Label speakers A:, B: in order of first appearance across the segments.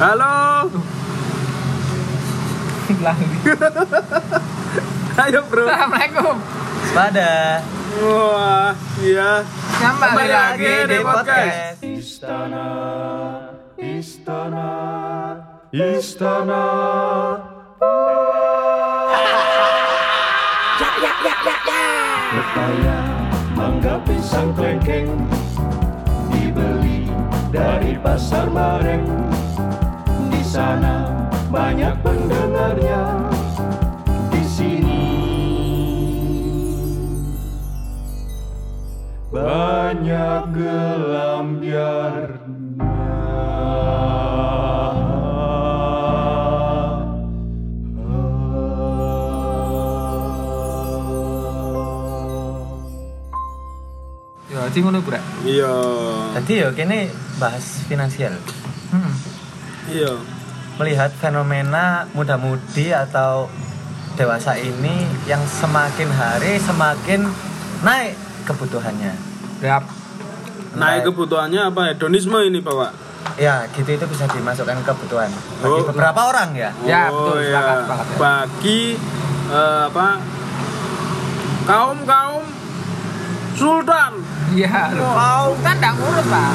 A: Halo.
B: Lagi.
A: Ayo, Bro.
B: Assalamualaikum.
C: Pada
A: Wah, iya.
B: Kembali lagi ya, di podcast.
D: Istana, istana, istana. Pepaya, mangga, pisang, klengkeng dibeli dari pasar bareng. Di sana banyak pendengarnya. Di sini banyak gelam
B: Yo, aji Ya, ngono iku, Rek.
A: Iya.
C: Tadi ya kini bahas finansial.
B: Heeh.
A: Iya.
C: Melihat fenomena muda-mudi atau dewasa ini yang semakin hari semakin naik kebutuhannya.
B: Siap.
A: Naik Nah, kebutuhannya apa? Hedonisme ini, Bapak.
C: Ya, gitu itu bisa dimasukkan kebutuhan. Bagi
A: Oh.
C: beberapa orang ya.
B: Ya, betul,
A: iya.
B: sepakat, sepakat, ya.
A: Bagi eh, apa? Kaum-kaum sultan.
B: Iya, lho.
C: Wow. Oh,
B: Sultan Kan ndak ngurus, Pak.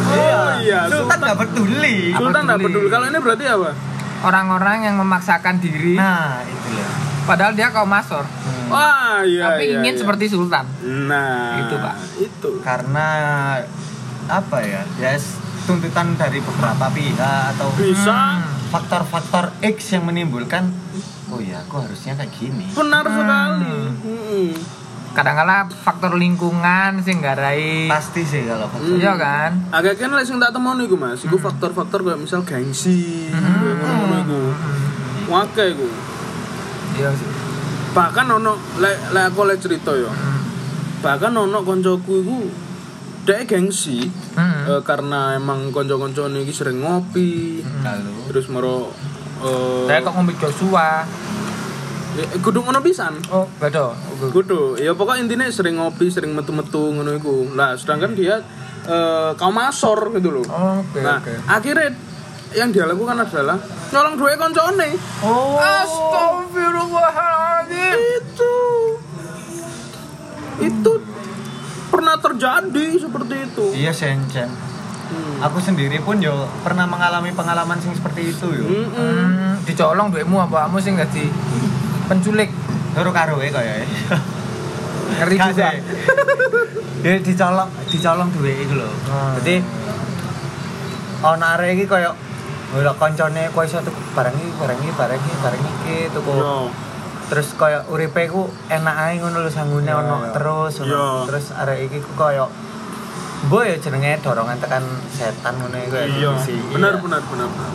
A: iya,
C: Sultan
A: Sultan.
C: nggak peduli.
B: Apa
A: Sultan nggak
B: peduli?
A: peduli. Kalau ini berarti apa?
B: Orang-orang yang memaksakan diri
C: Nah, itu ya.
B: padahal dia kaum masor,
C: Hmm.
A: Wah, iya.
B: tapi
A: iya,
B: ingin
A: iya.
B: seperti sultan.
A: Nah,
B: Itu, Pak.
A: Itu.
C: Karena apa ya? Ya s- tuntutan dari beberapa pihak atau hmm,
A: Bisa
C: faktor-faktor X yang menimbulkan oh ya, aku harusnya kayak gini.
A: benar
B: Ah.
A: sekali. Mm-mm.
B: Kadang-kala faktor lingkungan sih nggarai.
C: Pasti sih kalau faktor
B: Iya kan?
A: agak kan lagi tak temoni iku Mas, iku
B: Hmm.
A: faktor-faktor kayak misal gengsi, kayak ngono-ngono iku. Wake iku.
B: Hmm. Iya sih.
A: Bahkan ono lek lek aku lek cerita ya. Bahkan ono koncoku iku dhek gengsi
B: Heeh.
A: eh, karena emang konco-koncone iki sering ngopi,
C: lalu.
A: terus mero eh
B: Saya Hmm. kok ngombe Joshua.
A: eh, kudu ngono pisan.
B: Oh, betul.
A: Kudu, ya pokok intinya sering ngopi, sering metu-metu ngono iku. Lah, sedangkan dia eh kaum masor gitu loh.
B: Oh, Oke,
A: Nah,
B: oke.
A: akhirnya yang dia lakukan adalah nyolong duit koncone.
C: Oh.
B: Astagfirullahaladzim.
A: Itu. Itu pernah terjadi seperti itu.
C: Iya, Senchen. Aku sendiri pun yo pernah mengalami pengalaman sing seperti itu yo.
A: Mm-mm.
B: Hmm, dicolong duitmu apa kamu sih nggak di penculik
C: Turu karoe kaya.
B: ngeri juga.
C: Ya dicolong, dicolong duwe iku lho.
B: Hmm.
C: Dadi ana arek iki kaya lho koncone kok iso tuku barang iki, barang iki, barang iki, barang iki tuku.
B: Oh, iya.
A: Yo.
C: Terus kaya uripe ku enak ae ngono lho sanggune
B: Iya,
C: ono
B: iya.
C: terus ono.
A: Iya.
C: Terus arek iki ku kaya Mbok ya jenenge dorongan tekan setan ngono iku ya.
A: Iya. Benar, benar, benar. benar.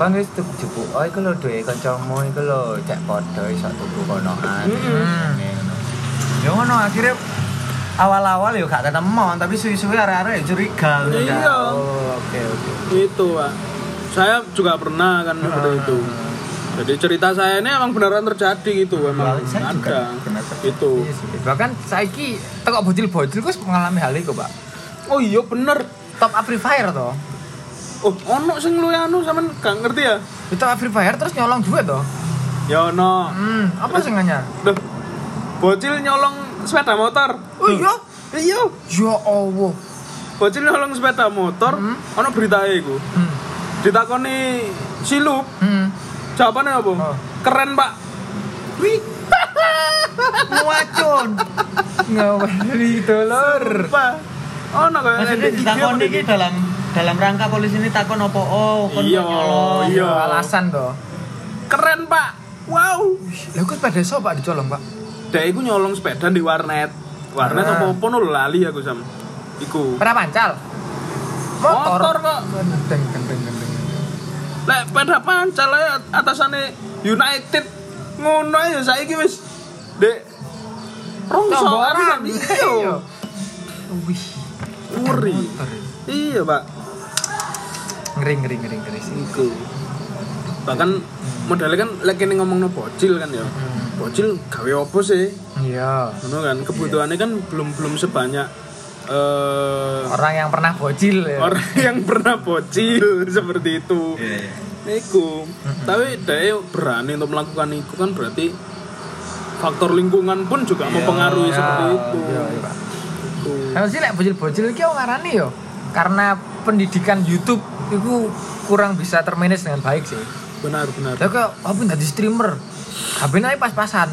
C: Kan wis tuku jupuk. Oh iku lho duwe kancamu iku lho cek padha iso tuku konoan. Ngene, ngono. Ya ngono akhirnya awal-awal ya gak ketemuan tapi suwi-suwi arek-arek ya curiga ngono kan.
A: Iya.
C: Oh, oke oke.
A: Itu, Gitu, Pak. Saya juga pernah kan seperti itu. Jadi cerita saya ini emang beneran terjadi gitu, emang
C: Wah, saya juga
A: ada. Gitu.
C: pernah terjadi.
A: Itu.
B: Iya Bahkan saiki tekok bocil-bocil kus mengalami hal itu, Pak.
A: Oh iya bener.
B: Top up free fire toh.
A: Oh, ono sing luwih anu sampean gak ngerti ya?
B: Itu up free fire terus nyolong duit toh.
A: Ya ono.
B: Hmm, apa sih nganya?
A: Duh. Bocil nyolong sepeda motor.
B: Oh iya.
A: Iya,
B: Ya Allah.
A: bocil nyolong sepeda motor, ono beritae iku.
B: Hmm.
A: Ditakoni silup,
B: Hmm.
A: jawabannya apa?
B: Oh.
A: Keren, Pak.
B: Wih.
C: Muacun.
B: Ngawali dolor.
A: Pak. Ono kaya
C: Maksudnya
A: NDIG
C: ditakon
A: apa
C: iki
A: gitu.
C: dalam dalam rangka polisi ini takon opo oh kon
A: Iya,
C: nyolong.
A: iya.
B: Alasan toh.
A: Keren, Pak. Wow.
B: Lah kus pada so Pak dicolong, Pak.
A: Dek iku nyolong sepeda di warnet. Warnet
B: Ah.
A: apa-apa no lali aku sam. Iku.
B: Pernah pancal. Motor.
A: Motor kok.
B: Gendeng, gendeng, gendeng.
A: Lek sepeda pancal ae atasane United ngono ya saiki wis. Dek. Rongso
B: Tomboran.
A: Iya.
B: Wih.
A: Uri.
B: Motor.
A: Iya, Pak.
B: Ngeri, ngeri, ngeri, ngeri sih.
A: Iku. Bahkan modalnya kan lek ini ngomongno bocil kan ya. Bocil gawe opo sih?
B: Iya.
A: Iya. Ngono kan kebutuhannya kan belum belum sebanyak eh
B: orang yang pernah bocil ya.
A: orang yang pernah bocil seperti itu Iku, tapi dia berani untuk melakukan itu kan berarti faktor lingkungan pun juga mempengaruhi
B: Ya,
A: seperti itu.
B: iya, iya, Pak.
A: Itu.
B: Kalau Nah, sih lek bocil-bocil iki wong ngarani yo. Karena pendidikan YouTube itu kurang bisa termanage dengan baik sih.
A: Benar benar.
B: Lah kok apa dadi streamer? HP-ne ae pas-pasan.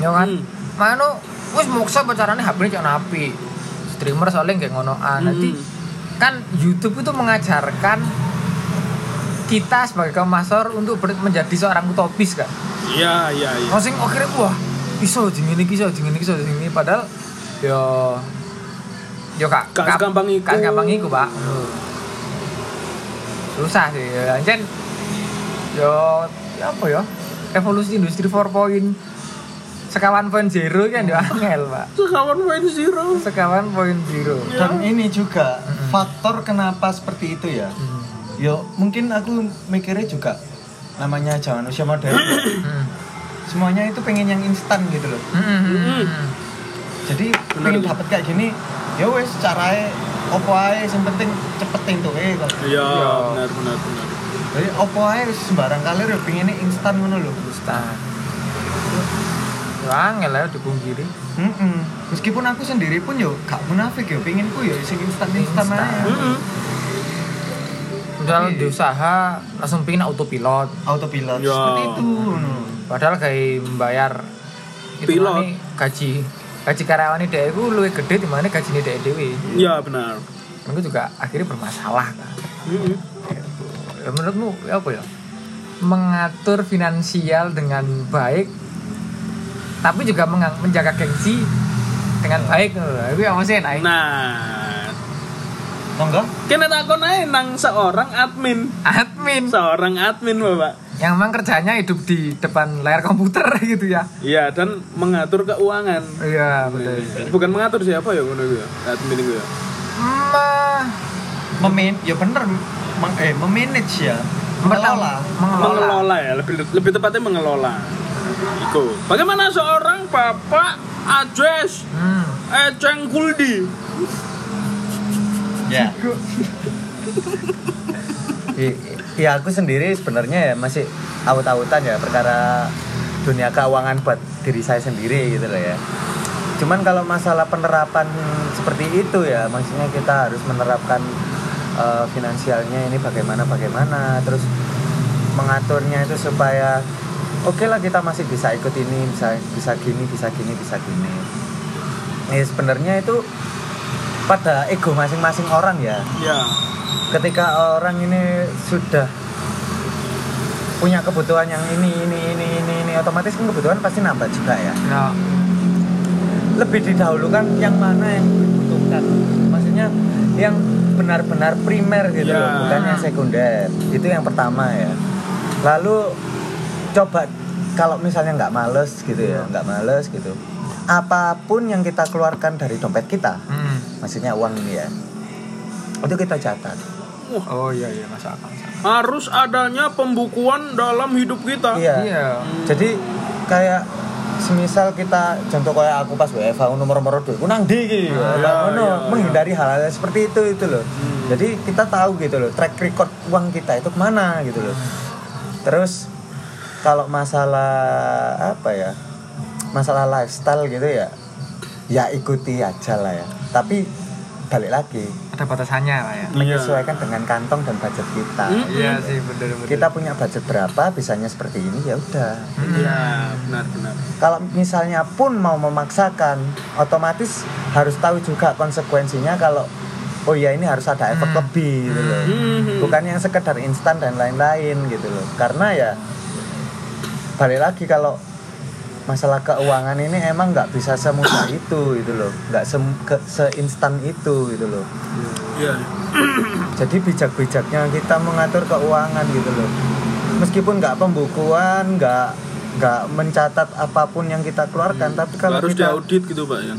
B: Ya kan?
A: Hmm.
B: Mano wis moksa pacarane HP-ne cok api. Streamer soalnya nggak ngonoan. Nanti
A: Hmm.
B: kan YouTube itu mengajarkan kita sebagai komasor untuk ber- menjadi seorang utopis kan.
A: Iya iya iya.
B: Masing akhirnya wah iso jeng ini iso jeng ini iso jeng ini padahal yo yo kak
A: Gak segampang iku. Hmm.
B: gak segampang iku pak susah sih ya Anjen, yo ya apa ya evolusi industri 4.0 sekawan poin zero kan yo angel pak
A: Sekawan main zero.
B: sekawan poin zero
E: Dan ini juga faktor kenapa seperti itu ya. Yo mungkin aku mikirnya juga namanya zaman usia modern. semuanya itu pengen yang instan gitu loh.
A: Mm-mm.
E: Jadi pengen dapat kayak gini, ya wes caranya opo ae yang penting cepetin tuh eh kok.
A: Iya benar benar benar.
E: Jadi opo ae wis sembarang kali yo pengennya instan ngono lho.
B: susah yo angel Nah. ya dipungkiri
E: Mm-mm. Meskipun aku sendiri pun yo gak munafik yo, penginku yo sing instan-instan
B: Instan.
E: aja.
A: Mm-mm.
B: Padahal
E: Iya.
B: di usaha langsung pingin autopilot
E: Autopilot
A: Ya.
E: seperti itu. ngono.
B: padahal kayak membayar
A: Pilot.
B: hitungannya gaji gaji karyawan dia itu lebih gede dimana gaji ini dia dewi
A: Iya benar.
B: itu juga akhirnya bermasalah kan
A: Mm-mm.
B: ya, menurutmu apa ya mengatur finansial dengan baik tapi juga menga- menjaga gengsi dengan baik itu apa sih naik
A: Nah,
E: Monggo.
A: kena takon ae nang seorang admin.
B: admin
A: Seorang admin bapak.
B: yang memang kerjanya hidup di depan layar komputer gitu ya
A: Iya dan mengatur keuangan.
B: iya betul
A: Bukan mengatur siapa ya ngono iku ya. Admin iku ya.
B: Ma-
E: memin ya bener meng, eh memanage ya mengelola
B: mengelola.
A: mengelola ya lebih lebih tepatnya mengelola Iko bagaimana seorang bapak Ajes
B: Hmm.
A: Eceng Kuldi
E: ya
C: I- ya aku sendiri sebenarnya ya masih awut-awutan ya perkara dunia keuangan buat diri saya sendiri gitu loh ya cuman kalau masalah penerapan seperti itu ya maksudnya kita harus menerapkan eh, finansialnya ini bagaimana bagaimana terus mengaturnya itu supaya oke lah kita masih bisa ikut ini bisa bisa gini bisa gini bisa gini ya sebenarnya itu pada ego masing-masing orang ya
A: ya
C: ketika orang ini sudah punya kebutuhan yang ini ini ini ini ini otomatis kan kebutuhan pasti nambah juga ya
B: Ya.
C: lebih didahulukan yang mana yang dibutuhkan maksudnya yang benar-benar primer gitu
A: Ya.
C: loh bukan yang sekunder itu yang pertama ya lalu coba kalau misalnya nggak males gitu ya nggak males gitu apapun yang kita keluarkan dari dompet kita
B: Hmm.
C: maksudnya uang ini ya itu kita catat
B: Oh iya iya masuk akal. masuk akal.
A: harus adanya pembukuan dalam hidup kita
B: Iya.
C: jadi kayak semisal kita contoh kayak aku pas WFH nomor nomor duit kunang di gitu
A: Ah,
C: ngono,
A: iya, Hmm.
C: menghindari hal-hal seperti itu itu loh jadi kita tahu gitu loh track record uang kita itu kemana gitu loh terus kalau masalah apa ya masalah lifestyle gitu ya ya ikuti aja lah ya tapi balik lagi
A: Iya.
B: Ada batasannya lah ya.
C: menyesuaikan dengan kantong dan budget kita
A: Hmm?
B: Iya sih bener bener.
C: kita punya budget berapa bisanya seperti ini ya udah
A: ya benar benar
C: kalau misalnya pun mau memaksakan otomatis harus tahu juga konsekuensinya kalau oh ya ini harus ada effort lebih gitu loh
A: Hmm.
C: bukan yang sekedar instan dan lain-lain gitu loh karena ya balik lagi kalau masalah keuangan ini emang nggak bisa semudah itu gitu loh nggak sem- ke- seinstan itu gitu loh
A: ya
C: jadi bijak-bijaknya kita mengatur keuangan gitu loh meskipun nggak pembukuan nggak nggak mencatat apapun yang kita keluarkan tapi kalau
A: Hmm. harus
C: kita
A: diaudit gitu pak ya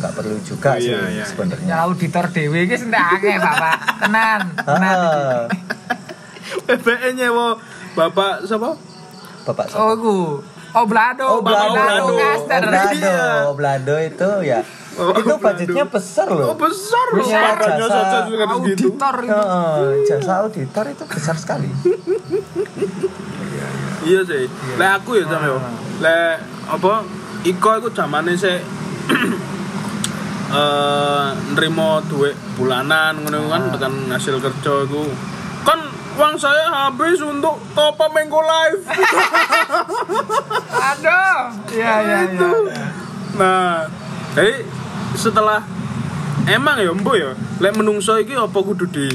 C: nggak perlu juga
A: Oh,
C: sih
A: iya, iya.
C: sebenarnya
B: Ya auditor dewe iki sentek akeh, Bapak. Tenan. Tenan. iki.
C: Ah,
A: PBN nyewa bapak siapa
C: bapak
B: Oh,
C: saya.
B: ku. Oblado,
C: Ah. Oh, Blado,
A: Oblado.
B: Kaster.
C: Oblado, Oblado itu ya
A: Iya. Oh,
C: itu budgetnya
A: Belanda.
C: besar loh
A: Oh, besar loh
C: Besar,
A: parahnya
C: jasa.
A: saja segitu gitu.
B: auditor itu
C: Heeh, jasa auditor itu besar sekali
A: Iya sih. Lek aku ya sama yo. Lek apa Iko iku zamane sik eh nrimo duit bulanan ngono kan tekan hasil kerja iku. Kan uang saya habis untuk top up Mango Live.
B: aduh ya ya ya
A: itu. Nah, jadi setelah emang ya mbok ya, lek menungso iki apa kudu di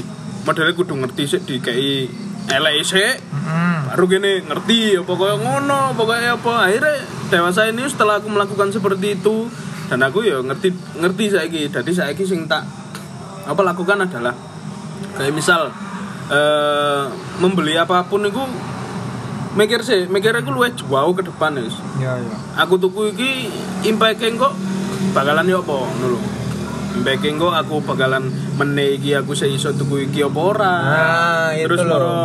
A: modelnya kudu ngerti sik dikei elek sik.
B: Hmm.
A: Baru gini ngerti apa kaya ngono, pokoknya apa akhirnya dewasa ini setelah aku melakukan seperti itu dan aku ya ngerti ngerti saiki. Jadi saiki sing tak apa lakukan adalah kayak misal eh membeli apapun itu mikir sih, mikirnya aku luwih jauh ke depan wis
B: ya ya
A: aku tuku iki impact-ing kok bakalan yo apa ngono lho. Impact-ing kok aku bakalan meneh iki aku sik iso tuku iki apa ora.
C: Nah, itu
A: Terus
C: lho.
A: loro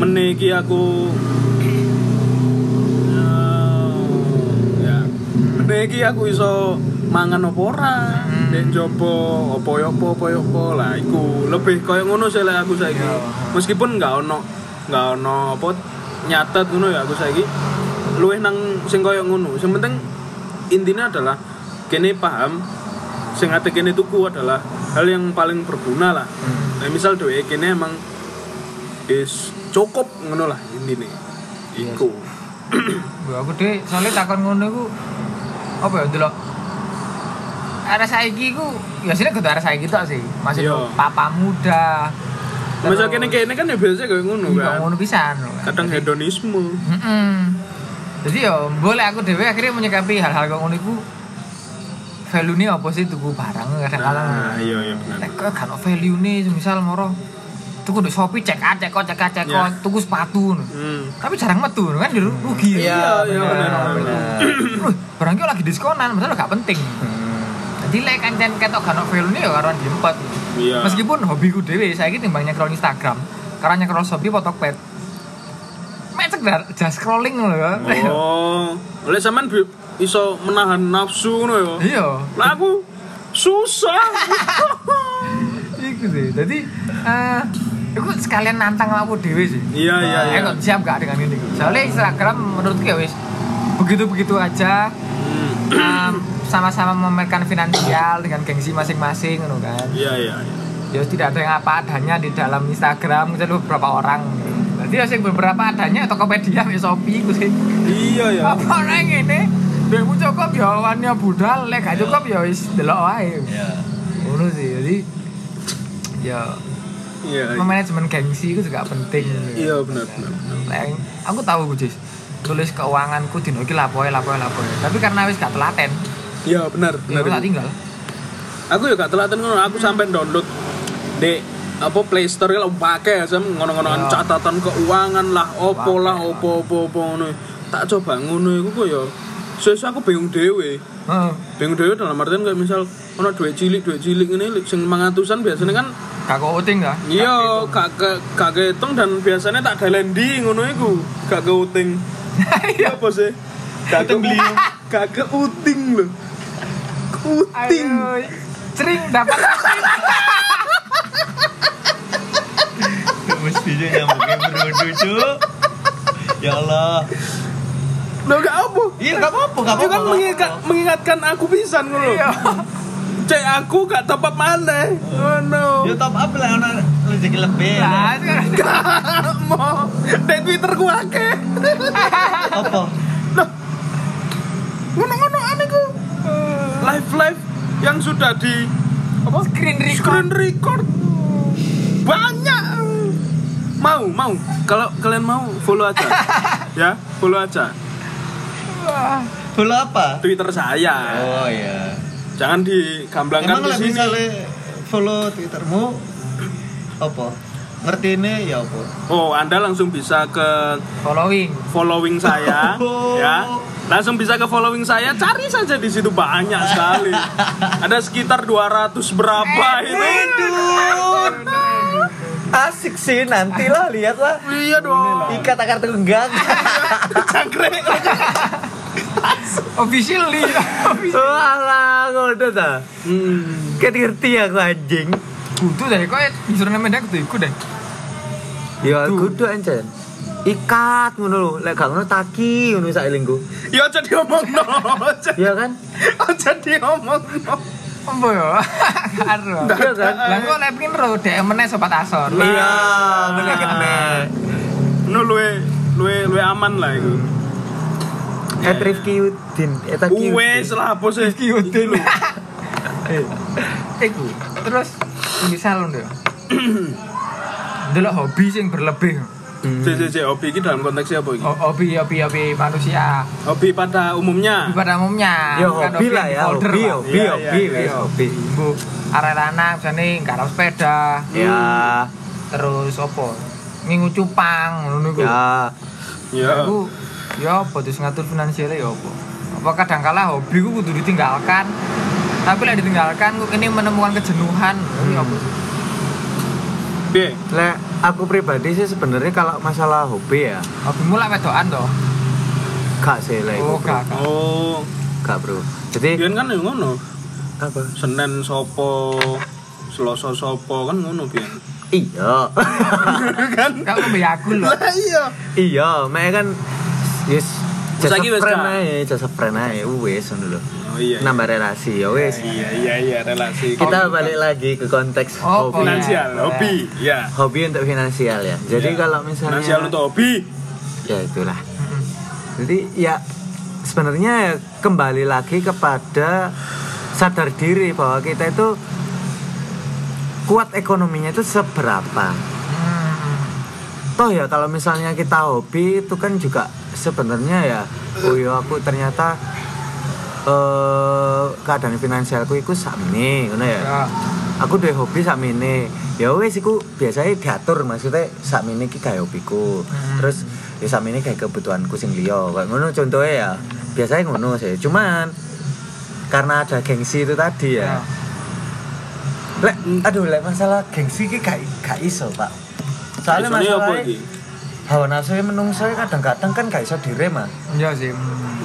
A: meneh iki aku Eh, ya. Meneh iki aku iso mangan apa ora. Nek jopo apa yo apa apa yo apa lah iku lebih koyo ngono sih lah aku saiki. Meskipun nggak ono nggak ono apa nyatet ngono ya aku saiki luwih nang sing koyo ngono. Sing penting intinya adalah kene paham sing ate kene tuku adalah hal yang paling berguna lah. Nah, misal dhewe kene emang is cukup ngono lah intine. Iku.
B: Bu, aku deh soalnya takon ngono iku apa ya delok arah saiki ku ya sini kudu arah saiki tok sih masih
A: Iya.
B: papa muda
A: Masa kene kene kan ya biasa koyo ngono kan.
B: kan ngono pisan
A: Kadang hedonisme.
B: Mm-mm. jadi ya boleh aku dewe akhirnya menyikapi hal-hal kayak ngono iku value ini apa sih tuku barang kadang-kadang
A: Nah, iya iya bener.
B: Nek kok kan value nih misal moro tuku di Shopee cek aja cek out, cek out, cek out, tuku sepatu no.
A: Hmm.
B: tapi jarang metu no, kan diru- rugi
A: Iya, iya bener. bener.
B: Loh, barang ki lagi diskonan, padahal gak penting.
C: Hmm.
B: Jadi lek kancen ketok gak ono value-ne ya karuan diempet.
A: Iya.
B: Meskipun hobiku dhewe saiki timbang nyekrol Instagram, karena nyekrol Shopee Potokpet. Mek sekedar just scrolling lho ya.
A: Oh, oleh sampean bi- iso menahan nafsu ngono ya.
B: Iya.
A: Lah aku susah.
B: Iku sih. Jadi eh iku sekalian nantang aku dhewe sih.
A: Iya iya
B: Eh,
A: iya.
B: kok siap gak dengan ini? Soalnya Instagram menurutku ya wis begitu-begitu aja
A: Hmm.
B: em, sama-sama memamerkan finansial dengan gengsi masing-masing ngono kan.
A: Iya iya. iya.
B: ya tidak ada yang apa adanya di dalam Instagram itu beberapa orang jadi ya sing beberapa adanya Tokopedia ya Shopee ku sih
A: Iya ya.
B: apa orang ini demo cukup ya awalnya budal lek gak cukup ya wis delok wae
A: Ya.
B: ngono sih jadi ya
A: Iya. iya.
B: manajemen gengsi itu juga penting
A: Iya benar benar. benar.
B: Lek, aku tahu gue tulis keuanganku dino iki lapoe lapoe lapoe tapi karena wis gak telaten
A: Iya benar benar.
B: ya aku tak tinggal
A: Aku ya gak telaten ngono, aku sampai download di apa Play Store kalau pakai sam ngono-ngonoan
B: Iya.
A: catatan keuangan lah, opo
B: Pakai,
A: lah, opo opo opo ngono. Tak coba ngono iku kok ya. Sesu aku bingung dhewe.
B: Heeh.
A: Bingung dhewe dalam artian kayak misal ono duit cilik, duit cilik ngene sing 500-an biasanya kan
B: gak kok uting gak
A: iya gak ke- gak kehitung dan biasanya tak dalendi ngono iku, gak keuting. Iya apa sih? Gak ke gak keuting lho. Kuting.
B: Aduh, Cering dapat
E: mestinya nyambungnya berundu cuk ya Allah
A: Lo gak apa?
E: iya gak apa-apa gak
A: Itu
E: apa-apa
A: kan mengingat, mengingatkan aku pisan ngono.
B: Iya.
A: Cek aku gak tepat mana. Oh no.
E: ya top up lah ono rezeki lebih
C: Nah.
B: Lah, kan sekarang
A: Mau di Twitter ku akeh.
E: apa
A: Ngono-ngono aneh ku. Live-live yang sudah di
B: apa screen record
A: screen record. Banyak. Mau, mau. Kalau kalian mau follow aja. ya, follow aja
E: bola apa
A: Twitter saya.
E: oh iya
A: Jangan digamblangkan
E: emang
A: di
E: lah
A: sini.
E: misalnya follow twittermu apa ngerti ini ya apa
A: Oh, Anda langsung bisa ke
B: following
A: following saya ya langsung bisa ke following saya cari saja di situ banyak sekali ada sekitar 200 berapa itu Ah.
C: asik sih nantilah lihatlah
A: iya dong
C: ikat akar tunggang
A: cangkrek
B: Officially.
C: Oh alah, ngono ta.
A: Hmm.
C: Ket ngerti aku anjing.
B: Kudu deh, kok disuruh nama dia kudu ikut deh.
C: Ya kudu anjen. Ikat ngono lho, lek gak ngono taki ngono sak elingku.
A: Ya aja diomongno. Aja-
C: Iya kan?
A: Aja diomongno.
B: Apa ya? Karo.
C: Iya kan?
B: Lah kok lek piro DM meneh sobat asor.
C: Iya, bener kene.
A: Ngono luwe luwe luwe aman lah iku.
C: Ket Rifki Eh, Udin, Eh, eta Ki.
A: Wes lah bos iki hotel lho.
B: Iku. Terus misal lho. Delok hobi sing berlebih.
C: Hmm.
A: Cek cek cek hobi iki dalam konteksnya apa iki?
B: Ho- Hobi hobi hobi manusia
A: Hobi pada umumnya.
B: pada umumnya.
C: Ya
B: bukan
C: hobi lah ya,
B: Kan folder,
C: hobi,
B: Pak.
C: hobi,
A: Iya,
C: hobi,
A: iya,
C: wis,
A: iya.
C: hobi.
B: Bu, arek lanang jane karo sepeda,
C: Ya,
B: terus opo? Ngingu cupang ngono niku.
C: ya.
A: Ya.
B: Aku ya apa terus ngatur finansialnya ya apa? Apa kadang kala hobi ku kudu ditinggalkan. Tapi lah ditinggalkan ku ini menemukan kejenuhan. Ini apa?
A: Piye?
C: Lek aku pribadi sih sebenarnya kalau masalah hobi ya,
B: Hobimu lah wedokan toh.
C: gak sih lek.
B: Oh,
C: iku, bro.
B: gak. gak.
A: Oh,
C: Gak, Bro. Jadi
A: pian kan ya ngono.
C: apa?
A: Senin sopo, Selasa sopo kan ngono pian.
C: Iya.
A: kan?
B: Gak kok mbek aku lho.
A: Lah iya.
C: Iya, mek kan yes jasa
A: Saiki wis
C: friend
A: gak?
C: ae, jasa friend ae wis ngono lho.
A: Oh iya.
C: Nambah relasi ya wis.
A: Iya iya iya relasi.
C: Kita balik lagi ke konteks
B: Oh,
C: hobi.
B: boleh.
A: finansial,
B: Iya.
A: hobi, ya.
C: Hobi untuk finansial ya.
A: Ya.
C: Jadi kalau misalnya
A: finansial untuk hobi,
C: ya itulah. Jadi ya sebenarnya ya kembali lagi kepada sadar diri bahwa kita itu kuat ekonominya itu seberapa. toh ya kalau misalnya kita hobi itu kan juga sebenarnya ya oh ya aku ternyata eh keadaan finansialku itu sakmene ngono ya
B: Ya,
C: aku dhewe hobi sakmene ya wis iku biasanya diatur maksudnya sakmene iki gawe hobiku terus ya sakmene gawe kebutuhanku sing liya kayak ngono contohnya ya biasanya ngono sih cuman karena ada gengsi itu tadi ya
B: ya.
C: lek aduh lek masalah gengsi iki gak gak iso pak soalnya
A: Soalnya apa
C: masalahnya
A: iki?
C: hawa nafsu menungso kadang-kadang kan gak iso direm ah.
B: Iya sih.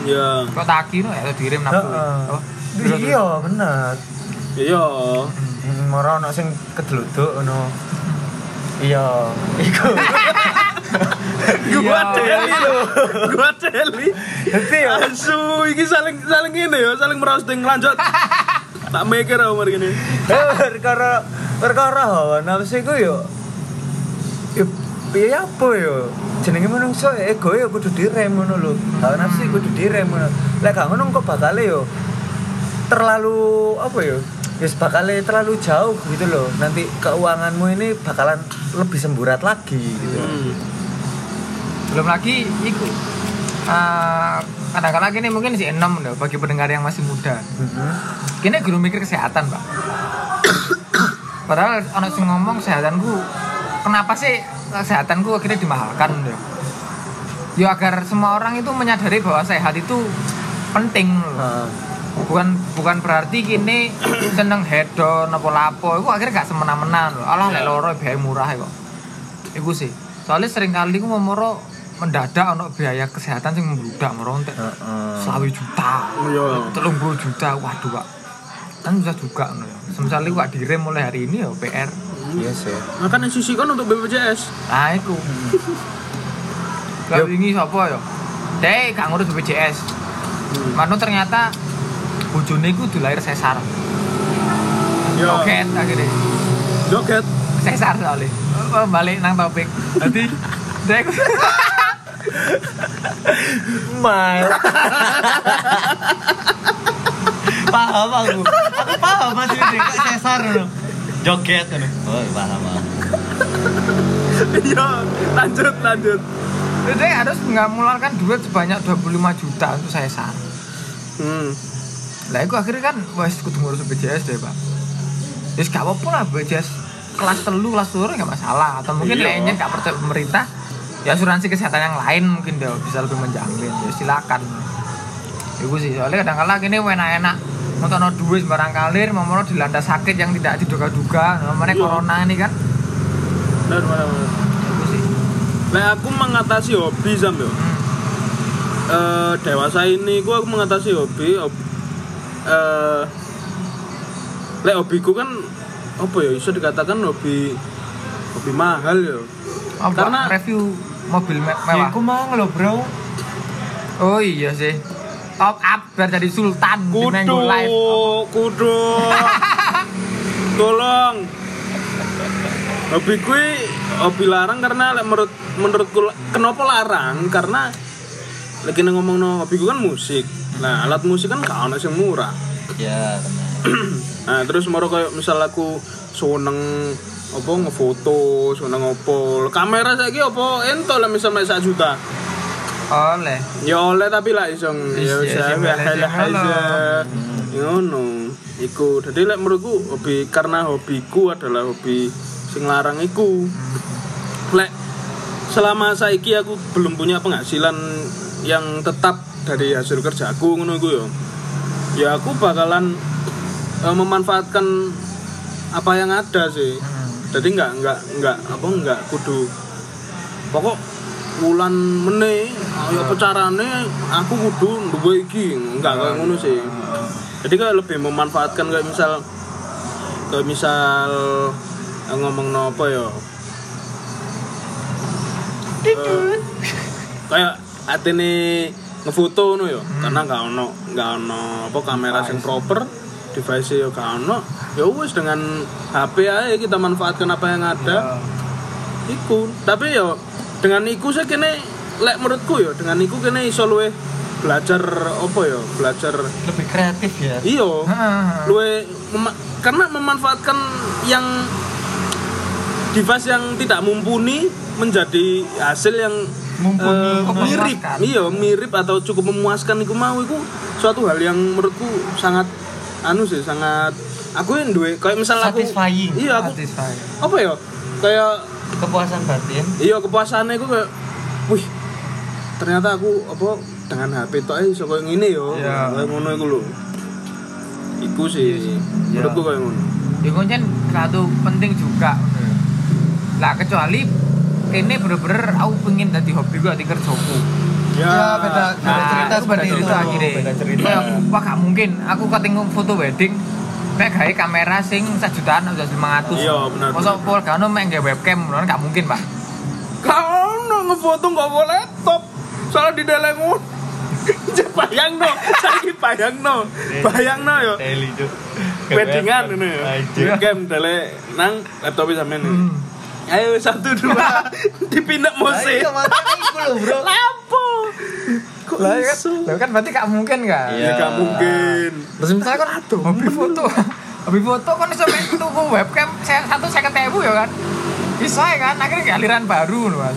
A: Ya,
B: Kok taki no ya dirim nafsu.
C: Heeh.
B: Oh, terus-
C: Iya bener.
A: iya.
C: Hmm, Moro ono sing kedeluduk ngono. Iya, iku.
A: Gua deli lho. Gua deli.
C: Dadi ya
A: Asu, iki saling saling ngene ya, saling merosting lanjut. Tak mikir aku mari ngene.
C: perkara perkara hawa nafsu iku yo yo piye apa yo jenenge menungso ego yo kudu direm ngono lho. Hawa nafsu kudu direm ngono. Lek gak ngono kok bakale yo terlalu apa yo? Yes, bakale terlalu jauh gitu loh. Nanti keuanganmu ini bakalan lebih semburat lagi gitu.
A: Hmm.
B: belum lagi iku. Eh, kadang-kadang ini mungkin si enam loh bagi pendengar yang masih muda. Kini guru mikir kesehatan, Pak. Padahal orang sing ngomong kesehatanku, kenapa sih kesehatanku akhirnya dimahalkan ya? Ya agar semua orang itu menyadari bahwa sehat itu penting loh.
C: Heeh.
B: Bukan bukan berarti kini seneng hedon apa lapo, itu akhirnya gak semena-mena loh. Alah lek loro biaya murah ya kok. Iku sih. Soalnya sering kali aku memoro mendadak untuk biaya kesehatan sing membludak merontek.
C: Heeh.
B: Selawi juta
A: Iya.
B: telung puluh juta waduh pak kan susah juga no ya semisal wak direm mulai hari ini ya PR
C: Iya sih.
A: Makan yang sisihkan untuk BPJS.
B: nah itu kalau ini siapa ya deh gak ngurus BPJS Mano ternyata bojone iku dilahir sesar
A: Ya.
B: joget akhirnya
A: Joget.
B: sesar soalnya oh, balik nang topik nanti deh
C: Mal. paham aku. Aku paham masih ini kok sesar loh. Joget ngono. Oh, paham. paham.
A: Iya. Lanjut lanjut.
B: deh harus nggak mengeluarkan duit sebanyak 25 juta untuk sesar
A: Hmm.
B: lah aku akhirnya kan wes kudu ngurus BPJS deh pak terus gak apa-apa lah BPJS kelas telu kelas telu nggak masalah atau mungkin
A: Iya.
B: lainnya nggak percaya pemerintah ya asuransi kesehatan yang lain mungkin deh bisa lebih menjamin ya silakan itu sih soalnya kadang kala ini enak-enak mau duit sembarang kalir mau mau dilanda sakit yang tidak diduga-duga namanya
A: Iya.
B: corona ini kan
A: Nah, Benar benar. benar.
B: itu sih
A: Lah aku mengatasi hobi sampe.
B: Hmm.
A: eh, dewasa ini gue mengatasi hobi hob, eh, lek hobiku kan apa ya bisa dikatakan hobi hobi mahal ya
B: Apa?
A: Karena-
B: review mobil me- mewah.
E: Iku Iya, mang lho, Bro.
B: Oh iya sih. Top up biar jadi sultan di Mango
A: kudu
B: Live.
A: kudu tolong hobi kui hobi larang karena lek menurut menurutku la- kenapa larang karena lagi ngomong no hobi kan musik nah alat musik kan gak ono sing murah
E: Ya,
C: Iya.
A: nah terus moro kayak misal aku seneng apa ngefoto seneng opo kamera saiki opo ento lah misal mek sak juta
B: Oleh.
A: ya oleh tapi lah isong
B: Is-
A: ya
B: is-
A: usah
B: is-
A: ya
B: is-
A: hal
B: is-
A: ngono iku jadi lek menurutku hobi karena hobiku adalah hobi sing larang iku lek selama saiki aku belum punya penghasilan yang tetap dari hasil kerjaku ngono iku yo ya aku bakalan eh, memanfaatkan apa yang ada sih jadi nggak nggak nggak apa nggak kudu pokok wulan meneh ayo pecarane aku kudu duwe iki enggak kayak ngono sih jadi kayak lebih memanfaatkan kayak misal kayak misal eh, ngomong apa ya Eh, kayak atene ngefoto no yo
E: Hmm.
A: karena nggak ono nggak ono apa kamera sing proper device yo gak ono ya wis dengan HP aja kita manfaatkan apa yang ada
E: Ya.
A: iku tapi yo dengan iku saya kene lek menurutku yo dengan iku kene iso luwe belajar apa yo belajar Iya.
E: lebih kreatif ya.
A: iyo
B: Heeh.
A: luwe mema- karena memanfaatkan yang device yang tidak mumpuni menjadi hasil yang eh, mirip
B: memuaskan.
A: iya mirip atau cukup memuaskan iku mau iku suatu hal yang menurutku sangat anu sih sangat aku yang duwe kayak misalnya aku
E: Satisfying.
A: iya aku
B: Satisfying.
A: apa ya kayak
E: Kepuasan batin.
A: iya kepuasannya aku kayak wih ternyata aku apa dengan HP tok ae iso koyo ngene yo
B: Iya.
A: kayak ngono iku lho iku Iya sih menurutku kayak ngono
B: Iku kan satu penting juga. Lah kecuali ini bener-bener aku pengen jadi hobi gue di kerjaku.
A: ya,
E: beda- beda cerita
B: Nah, itu beda
E: seperti
B: cerita
E: itu.
B: akhirnya.
E: Beda cerita.
B: Kayak, wah gak mungkin. Aku ketemu foto wedding, mek gawe kamera sing sejutaan udah lima ratus.
A: Iya, benar,
B: Masa pol gak ono mek gawe webcam, ngono kan gak mungkin pak.
A: gak ono ngefoto gak boleh laptop soalnya di dalam bayang no saiki bayang no bayang no yo
E: Teli cuk.
A: Eh, weddingan ini ya game tele nang laptop e sampean ini ayo satu dua Hmm. iya, dipindah musik
E: Ayo makanya iku lho, Bro.
A: lapo kok
B: Lah kan,
A: iso?
B: lah kan berarti gak mungkin kan.
A: Ya gak mungkin.
B: Terus misalnya kan hobi foto. Hobi foto kan iso main tuku webcam saya satu saya ketemu ya kan. Bisa ya kan akhirnya kayak aliran baru loh kan.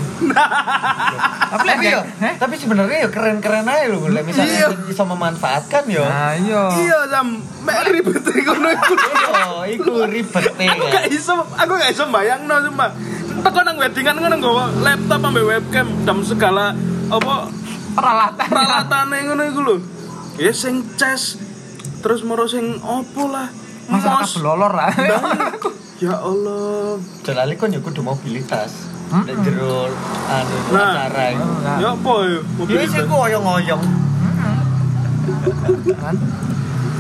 B: Tapi
E: Tapi
B: ya,
E: yo, tapi sebenarnya yo keren-keren aja lho, Bro.
A: Iya.
E: Misalnya bisa memanfaatkan yo.
B: Nah, iya.
A: Iya, Sam. Mek ribet iku no iku.
E: Oh, iku ribet
C: Iya.
E: ya.
A: Aku gak iso, aku gak iso bayangno sumpah. Teko nang weddingan ngono nggawa laptop ambe webcam dan segala apa
B: Peralatan.
A: peralatane ngono iku lho. Ya sing cas terus moro sing opo lah.
B: Masa
A: Mos.
B: belolor lah.
A: Ya Allah.
E: Jalali kan yo kudu mobilitas.
B: Mm-mm.
E: Nek jero anu
A: Nah.
E: acara iku.
B: Nah,
A: Ya apa ya?
E: Yo
A: Mobilitas.
E: sing ku oyong-oyong.
B: kan.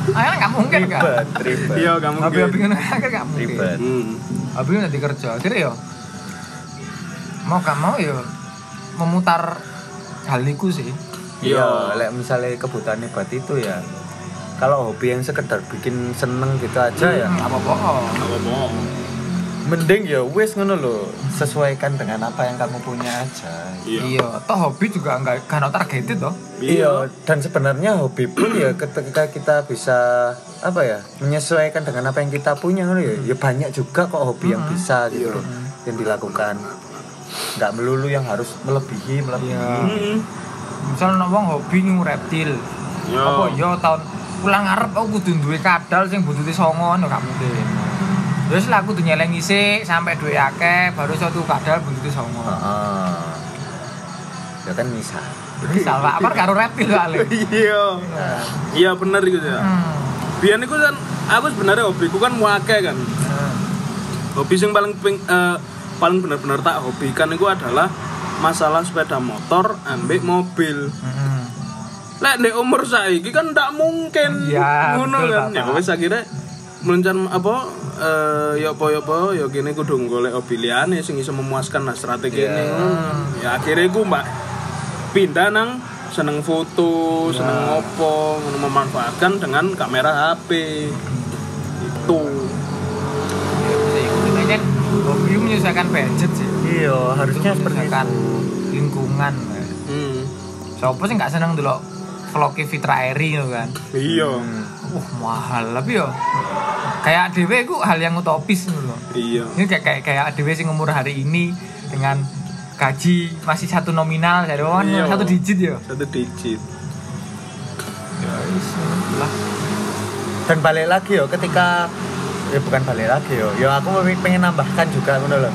B: Akhirnya nggak mungkin kan.
C: ribet
A: Iya, gak
B: Hobi-hobi
A: mungkin.
B: kan akhirnya nggak mungkin.
C: ribet
A: Hmm.
B: Abi nanti kerja, akhirnya ya mau gak mau ya memutar hal iku sih.
A: Iya.
C: Iya, lek misalnya kebutuhannya buat itu ya. Kalau hobi yang sekedar bikin seneng gitu aja ya,
B: Hmm, apa bohong?
A: Apa bohong?
C: mending ya wes ngono lho.
E: Sesuaikan dengan apa yang kamu punya aja.
A: Iya.
B: Iya, toh hobi juga nggak kan targeted toh.
C: Iya, dan sebenarnya hobi pun ya ketika kita bisa apa ya menyesuaikan dengan apa yang kita punya ngono ya. Ya banyak juga kok hobi yang bisa gitu loh, yang dilakukan. Nggak melulu yang harus melebihi melebihi.
A: Hmm.
B: Misal ono wong hobi nyu reptil.
A: Yo.
B: Apa yo tahun pulang arep aku kudu duwe kadal sing buntute songo no gak mungkin. Terus lah aku kudu nyelengi sik sampai duwe akeh baru suatu kadal buntute songo.
C: Ah, Heeh. Ya kan bisa.
B: Misal Pak, apa karo reptil soalnya.
A: Iya. Iya bener iku ya.
B: Hmm.
A: Biyen iku kan aku sebenarnya hobiku kan muake kan. Hobi sing paling ping- eh, paling bener-bener tak hobikan iku adalah masalah sepeda motor ambek mobil.
B: Hmm.
A: lek di umur saiki kan ndak mungkin
B: Iya,
A: ngono
B: betul,
A: kan. Ya
B: Bapak.
A: wis akhirnya melencan apa eh ya apa ya apa ya kene kudu golek pilihan sing iso memuaskan lah strategi ini. Hmm. Ya akhirnya ku Mbak pindah nang seneng foto, seneng ngopo, ngono memanfaatkan dengan kamera HP. Itu.
B: Sih, Intinya hobi menyusahkan budget sih.
C: Iya, harusnya
B: Itu
C: seperti
B: menyusahkan lingkungan. eh.
A: Hmm.
B: Siapa sih nggak seneng dulu vlognya Fitra Eri gitu kan?
A: Iya.
B: Wah Uh, mahal tapi ya kayak ADW itu hal yang utopis gitu loh.
A: Iya.
B: Ini kayak kayak kayak ADW sing umur hari ini dengan gaji masih satu nominal jadi kan
A: Iya.
B: satu digit ya.
A: Satu digit.
B: Lah,
C: dan balik lagi yo ketika ya bukan balik lagi yo yo aku pe- pengen nambahkan juga ngono loh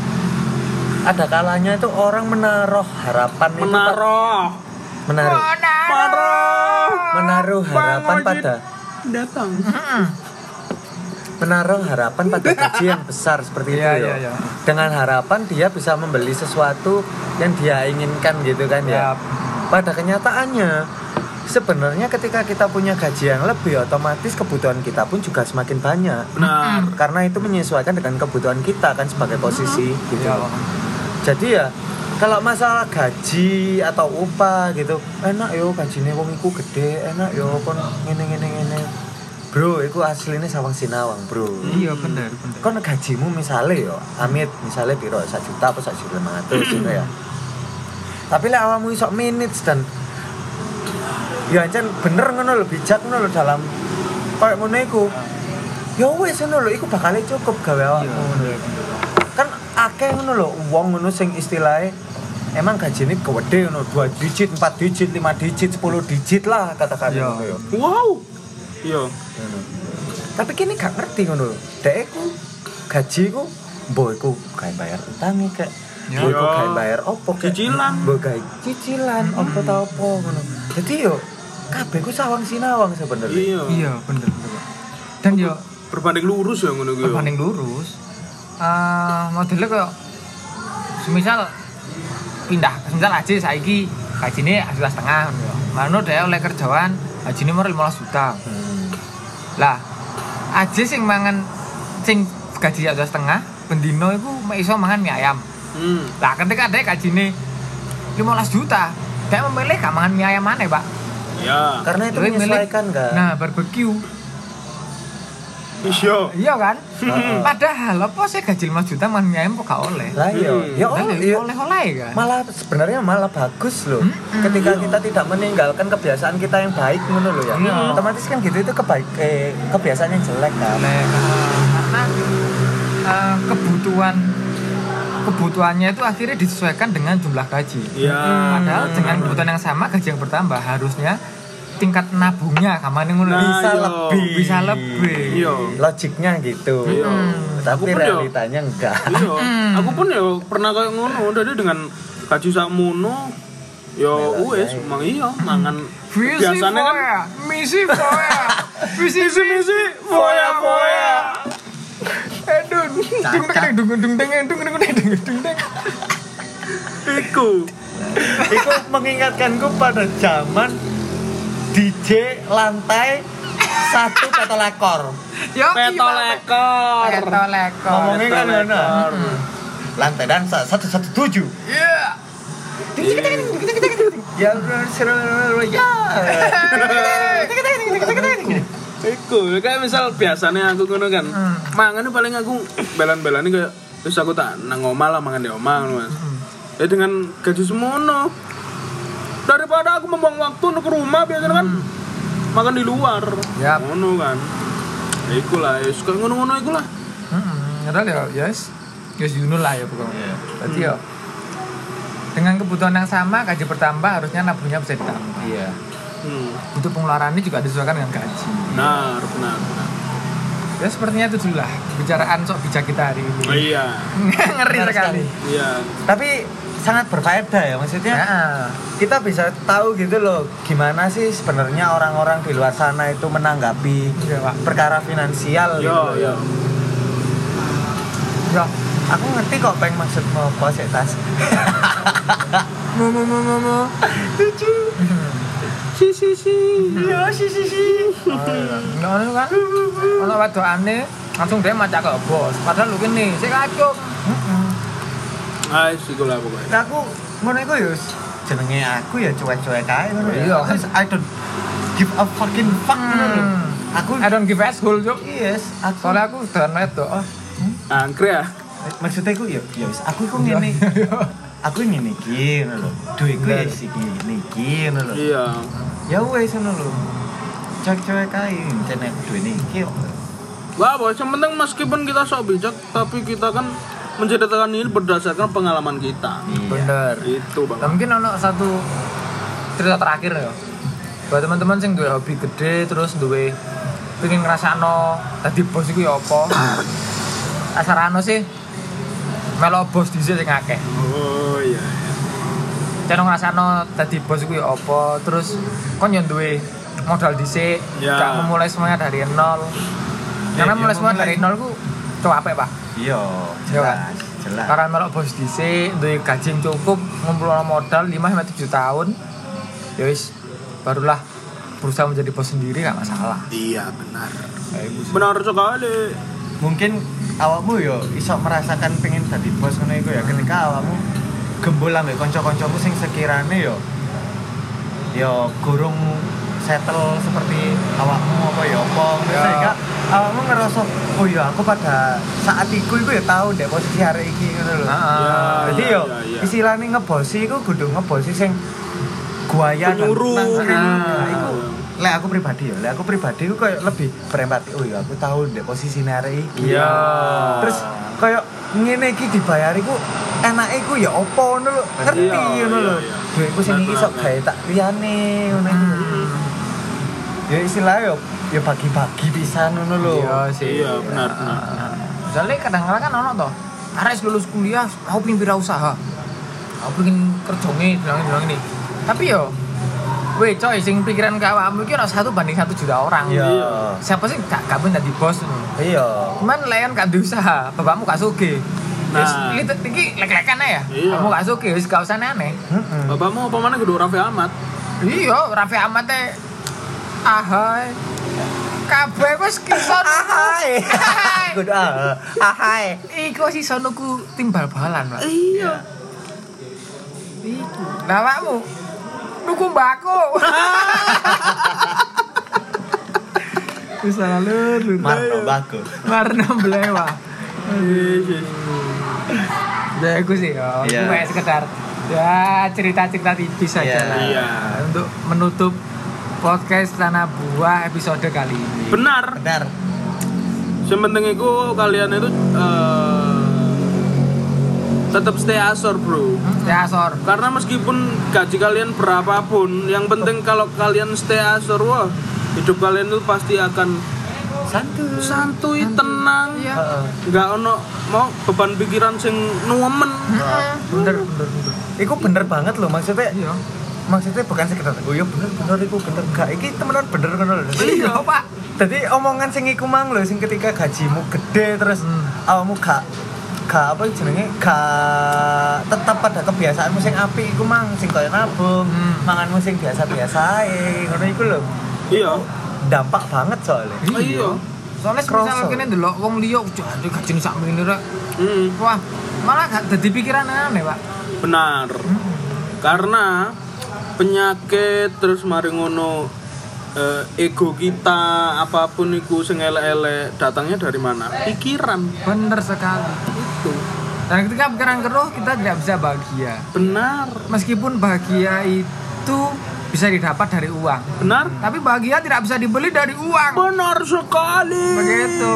C: ada kalanya itu orang menaruh harapan itu pa-
A: Menaruh.
C: menaruh
A: Menaruh.
C: menaruh harapan
A: Bang Ojit.
C: pada
A: Datang.
C: menaruh harapan pada gaji yang besar seperti itu
B: Iya,
C: yo.
B: iya, iya.
C: dengan harapan dia bisa membeli sesuatu yang dia inginkan gitu kan ya
B: Yap.
C: pada kenyataannya sebenarnya ketika kita punya gaji yang lebih otomatis kebutuhan kita pun juga semakin banyak
A: Benar.
C: Hmm. karena itu menyesuaikan dengan kebutuhan kita kan sebagai posisi gitu
B: ya.
C: jadi ya kalau masalah gaji atau upah gitu enak yo gajinya wong iku gede enak yo kon ngene ngene ngene bro iku aslinya sawang sinawang bro
B: Iya bener bener.
C: kon gajimu misalnya yo amit misalnya piro sak juta apa sak juta lima ratus gitu ya tapi lah awamu isok minutes dan ya ancen bener ngono lho bijak ngono lho dalam kayak ngono iku ya wes ngono lho iku bakal cukup gawe awakmu ngono lho. kan akeh ngono lho wong ngono sing istilahnya emang gajine gede ngono 2 digit 4 digit 5 digit 10 digit lah katakan
B: Iya.
C: ngono yo
A: Wow. Iya.
C: tapi kini gak ngerti ngono lho dek ku gaji ku mbok iku gawe bayar utange kek
B: Ya.
C: mbok iku
A: Iya.
C: gawe bayar opo kek
A: Cicilan. Hmm.
C: mbok gawe cicilan opo ta opo ngono dadi yo kabeh ku sawang sinawang sebenarnya
A: Iya.
B: Iya bener bener. Dan yo
A: Berbanding lurus ya ngono
C: Iya.
A: kuwi.
B: berbanding lurus eh modelnya kayak semisal pindah semisal aja saiki gajine hasil setengah ngono ya. Mano dia oleh kerjaan gajine mau 15 juta.
C: Hmm.
B: Lah aja sing mangan sing gaji hasil setengah bendino iku mek iso mangan mie ayam.
A: Hmm.
B: Lah ketika dia gajine 15 juta, dia memilih gak mangan mie ayam mana, Pak?
A: Ya.
C: karena itu
B: Dia milih-
C: menyesuaikan kan
B: Nah, barbecue.
A: Iya.
B: Iya kan?
C: Heeh.
B: Padahal apa sih gaji 5 juta mangan mie ayam kok gak oleh?
C: lah yo
A: Hmm.
C: yo
B: Kan
C: yo-
B: oleh oleh kan
C: malah sebenarnya malah bagus loh
B: Hmm.
A: Iya.
C: ketika kita tidak meninggalkan kebiasaan kita yang baik ngono loh ya
B: Iya.
C: otomatis kan gitu itu kebaik eh, kebiasaan yang jelek
A: Nah,
C: kan
B: oleh karena eh, kebutuhan kebutuhannya itu akhirnya disesuaikan dengan jumlah gaji
A: Iya.
B: padahal dengan kebutuhan yang sama gaji yang bertambah harusnya tingkat nabungnya kamane ngono
A: Nah,
C: bisa
A: iya.
C: lebih
B: bisa lebih
A: Iya.
C: logiknya gitu
A: Iya. Aku
C: tapi
A: pun yo.
C: realitanya enggak
A: Iya. Aku pun ya pernah kayak ngono. Jadi dengan gaji sakmono ya wis emang iya mangan
B: Visi
A: biasanya kan
B: foya, misi foya, visi misi
A: foya, foya.
B: Aduh, dung dung dung dung dung dung dung dung dung dung.
A: iku
C: itu mengingatkanku pada zaman DJ lantai satu kata lakor
B: Yo,
A: petolekor.
B: Petolekor.
C: ngomongnya kan
A: Petolekor.
C: ngono
A: Hmm.
C: lantai dansa satu satu tujuh
B: Iya.
C: ya ya
A: Iku, ya, kayak misal biasanya aku ngono kan. Mangan paling aku belan-belani kayak terus aku tak nang omah lah mangan di omah ngono Mas. Ya dengan gaji semono. Daripada aku membuang waktu untuk ke rumah biasanya kan makan di luar.
B: Yap.
A: Ngono kan. Ya iku lah, ya suka ngono-ngono iku lah.
B: Heeh, padahal ya yes. Yes Yuno lah ya pokoknya.
A: Iya.
B: Berarti ya dengan kebutuhan yang sama gaji bertambah harusnya nabungnya bisa ditambah.
C: iya
A: Hmm.
B: Untuk pengeluarannya juga disesuaikan dengan gaji.
A: Benar, benar. benar.
B: Ya sepertinya itu dulu lah pembicaraan sok bijak kita hari
A: Oh,
B: ini.
A: iya.
B: Ngeri
C: Benar
B: sekali.
C: sekali.
A: Iya.
C: tapi sangat berfaedah ya maksudnya
B: Nah,
C: kita bisa tahu gitu loh gimana sih sebenarnya orang-orang di luar sana itu menanggapi
B: Iya, Pak.
C: perkara finansial gitu
A: Yo,
C: loh.
A: yo.
B: ya.
C: aku ngerti kok pengen maksud mau pos tas
B: Mu mu mu mu mu.
C: lucu
A: si si si
C: Iya, si si si.
A: Oh, iya.
B: ngono kan ono wedokane langsung dia macak kok bos padahal lu gini sik kacung
A: ah sih gue lah pokoknya
C: Nah, aku ngono iku yo jenenge aku ya cuek-cuek ae ngono.
B: Iya.
C: Aku is- I don't give a fucking fuck ngono lho.
B: Hmm.
C: Aku
B: I don't give asshole cuk
C: yes, aku
B: soalnya aku dan wedok oh.
A: angkre ya
C: maksudnya aku ya ya wis aku iku
B: Iya.
C: ngene. Aku ngene iki ngono lho. Duitku ya sik ngene iki ngono lho.
A: iya
C: Ya wis ngono lho. Cuek-cuek ae jenenge duitne iki kok. Iya,
A: Gak apa, yang penting meskipun kita sok bijak, tapi kita kan menceritakan ini berdasarkan pengalaman kita.
B: bener
A: Itu
B: Nah,
A: bang.
B: mungkin ono satu cerita terakhir ya buat teman-teman sing duwe hobi gede terus duwe pengen ngrasakno tadi bos iku ya apa asarano sih melo bos dhisik sing akeh
A: Oh iya. iya.
B: Ceno ngrasakno dadi bos kuwi apa, terus kon yo duwe modal dhisik,
A: Ya.
B: gak memulai semuanya dari nol. Karena
C: dia
B: mulai semuanya dari
C: memulai.
B: nol ku capek, Pak.
C: Iya, jelas, jelas.
B: Karena melok bos dhisik, duwe gaji yang cukup, ngumpulno modal 5 sampai 7 tahun. Ya wis, barulah berusaha menjadi bos sendiri gak masalah.
A: Iya benar. Benar sekali.
C: mungkin awakmu yo iso merasakan pengen dadi bos ngono iku ya ketika awakmu gembul ambek kanca-kancamu sing sekirane yo yo gurung settle seperti awakmu apa ya apa ngono.
B: Ya.
C: sehingga awakmu ngerasa oh ya aku pada saat iku iku ya tahu deh posisi hari iki ngono lho
B: Heeh.
A: Ya,
C: jadi
A: Ah, ya,
C: yo
A: ya, ya.
C: istilahnya ngebosi iku kudu ngebosi sing
A: Iya,
C: guayan
A: Penyuruh, gitu.
C: iku lek aku pribadi ya, lek aku pribadi aku kayak lebih berempati. Oh ya, aku tahu ndek posisi nari iki.
B: Iya.
C: Terus kayak ngene iki dibayari ku enake ku ya opo ngono lho. Ngerti
A: Iya,
C: ngono
A: iya,
C: lho.
A: iya.
C: Duitku sing iki sok
A: Benar,
C: gawe tak liyane ngono iku.
A: Hmm.
C: Ya istilah ya ya bagi-bagi pisan ngono lho.
B: Iya sih.
A: Iya benar. benar.
B: Soalnya kadang-kadang kan ono toh, Ares lulus kuliah, aku pengen wirausaha. Aku pengen kerjone bilang-bilang ini. Tapi yo Weh coy, sing pikiran ke awakmu iki ono satu banding satu juta orang.
C: Iya.
B: Siapa sih gak kabeh dadi bos ngono.
C: Iya.
B: Cuman layan gak duwe usaha, bapakmu gak sugih. Nah,
A: Nah.
B: ini iki lek-lekan ae ya.
A: Iya.
B: Kamu gak sugih, wis gak usah aneh.
C: Heeh.
A: Bapakmu apa mana gede Raffi Ahmad?
B: Iya, Raffi Ahmad e ahai. Kabeh wis kison.
C: Ahai.
B: Ahai.
C: Good ah. Ahai.
B: Iku sih sonoku timbal balan, Pak.
A: Iya.
B: Iku. Lah awakmu nuku mbako. Wis lalu
C: Marno bagus.
B: Warna blewa.
A: Iya.
B: Ya aku sih, ya.
C: Iya.
B: Aku kayak sekedar ya cerita-cerita tipis aja
C: Iya.
B: lah.
A: Iya.
B: Untuk menutup podcast Tanah Buah episode kali ini.
A: Benar.
C: Benar.
A: Yang penting itu kalian itu eh, tetap stay asor bro.
B: Ya, Sor.
A: Karena meskipun gaji kalian berapapun, yang penting kalau kalian stay asor, wah, hidup kalian itu pasti akan
C: Santuy.
A: santuy, tenang,
C: Heeh.
A: nggak ono mau beban pikiran sing nuemen.
C: bener bener bener iku bener banget loh maksudnya
B: Iya.
C: maksudnya bukan sekedar oh iya bener bener iku bener gak iki temenan bener ngono lho Jadi-
B: Iya, Pak.
C: jadi omongan sing iku mang lho sing ketika gajimu gede terus
B: Hmm.
C: awakmu gak gak apa jenenge gak tetap pada kebiasaanmu sing apik iku mang sing kaya nabung
B: Hmm.
C: manganmu sing biasa-biasa ae ngono iku lho
A: Iya.
C: dampak banget soalnya
A: Oh, iya.
B: Soalnya
C: Kroso.
B: misal kene delok wong liya, jadi gajine sak mrene rek.
A: Mm,
B: Wah, malah gak dadi pikiran aneh, Pak.
A: benar. Karena penyakit terus mari ngono eh, ego kita apapun itu sing elek-elek datangnya dari mana? Pikiran
B: Bener sekali.
A: itu.
B: Dan ketika pikiran keruh, kita tidak bisa bahagia.
A: Benar.
B: Meskipun bahagia itu bisa didapat dari uang,
A: Benar.
B: tapi bahagia tidak bisa dibeli dari uang.
A: Benar sekali.
B: Begitu.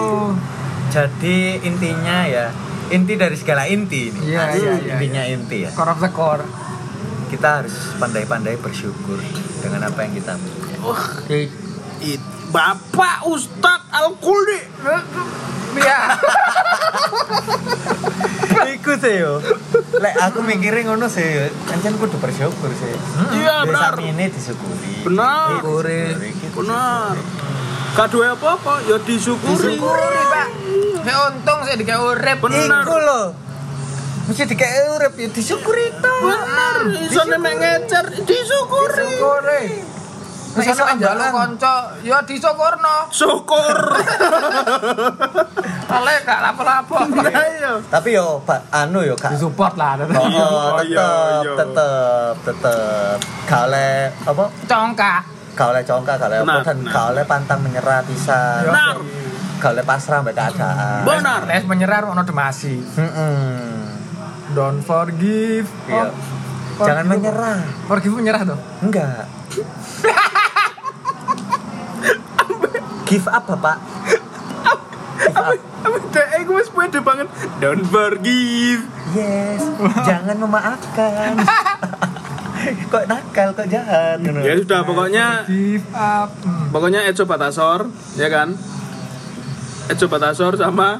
C: jadi intinya ya inti dari segala inti ini
B: Iya,
C: Asik,
B: iya, iya,
C: intinya inti ya
B: Skor of the core.
C: kita harus pandai-pandai bersyukur dengan apa yang kita miliki.
B: Oke.
A: It- Bapak Ustadz Al-Quli.
B: Ya.
C: Iku sih yo. Lek aku mikirin ngono sih yo. Ancen kudu bersyukur sih.
A: Iya, benar.
C: ini disyukuri.
A: Benar.
C: Disyukuri.
A: Benar. Kado apa-apa ya disyukuri.
B: Syukuri, Pak. Saya untung saya dikasih urip.
A: Benar.
C: Iku lho. Mesti dikei urip ya disyukuri to.
A: Benar. Iso nek ngecer disyukuri.
B: Syukuri. Nek iso njaluk kanca, ya disokorno.
A: syukur
B: Ale gak lapo-lapo.
A: ayo
C: Tapi yo Pak anu yo Kak.
B: Disupport lah.
C: Oh,
A: Iya, oh, iya,
C: tetep,
A: iya.
C: tetep, tetep. Kale apa?
B: Congkak.
C: Kale congkak, kale apa
A: Benar,
C: dan
A: benar.
C: kale pantang menyerah
B: Ya,
C: pisan.
A: benar
C: Kale pasrah mbek keadaan.
A: benar
B: Les menyerah ono demasi.
C: Mm-mm.
B: Don't forgive.
C: Iya.
B: Oh,
C: Jangan
B: forgive.
C: menyerah.
B: Forgive menyerah tuh.
C: Enggak. Give up, Bapak. Give up.
A: Apa deh, eh, gue wis pede banget Don't forgive
C: Yes, jangan memaafkan. kok nakal, kok jahat. ngono.
A: Ya sudah, pokoknya
B: Give up. Hmm.
A: Pokoknya Eco Batasor, ya kan? Eco Batasor sama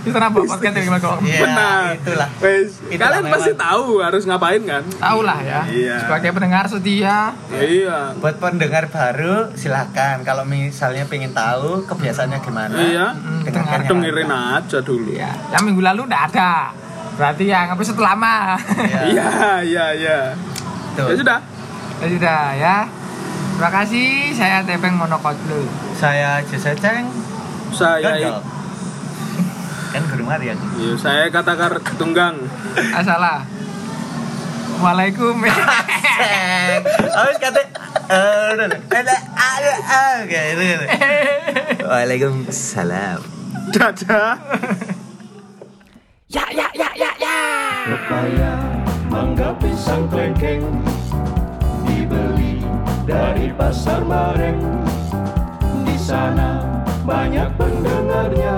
B: Itu kenapa podcast yang gimana kok?
C: Iya,
A: Benar.
C: itulah.
A: Wes,
C: Itulah
A: kalian
C: memang.
A: pasti tahu harus ngapain kan?
B: Tahu lah ya.
A: Iya.
B: Sebagai pendengar setia.
A: Iya.
C: Buat pendengar baru, silahkan. Kalau misalnya pengen tahu kebiasaannya gimana, mm,
A: Iya.
C: dengarkan yang
A: Dengerin aja dulu.
B: Ya, yang minggu lalu udah ada. Berarti ya, yang episode lama.
C: Iya.
A: Iya, iya, iya.
C: Tuh.
A: Ya sudah.
B: ya sudah ya. Terima kasih. Saya Tepeng Monokotlu.
C: Saya Jasa Ceng.
A: Saya
C: Gandol. Kan Guru Maria.
A: Iya, saya katakar tunggang.
B: Asalah. Waalaikum.
C: Ceng. Habis kata eh, udah, udah. ada ada ah, kayak gitu, gitu. Waalaikumsalam.
A: Dadah.
D: Pepaya, mangga, pisang, klengkeng Dibeli dari pasar bareng Di sana banyak pendengarnya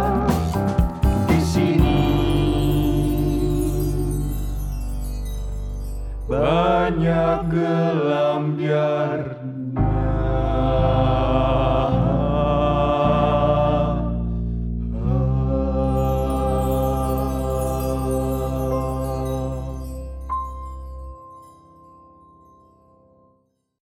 D: Di sini Banyak gelam biar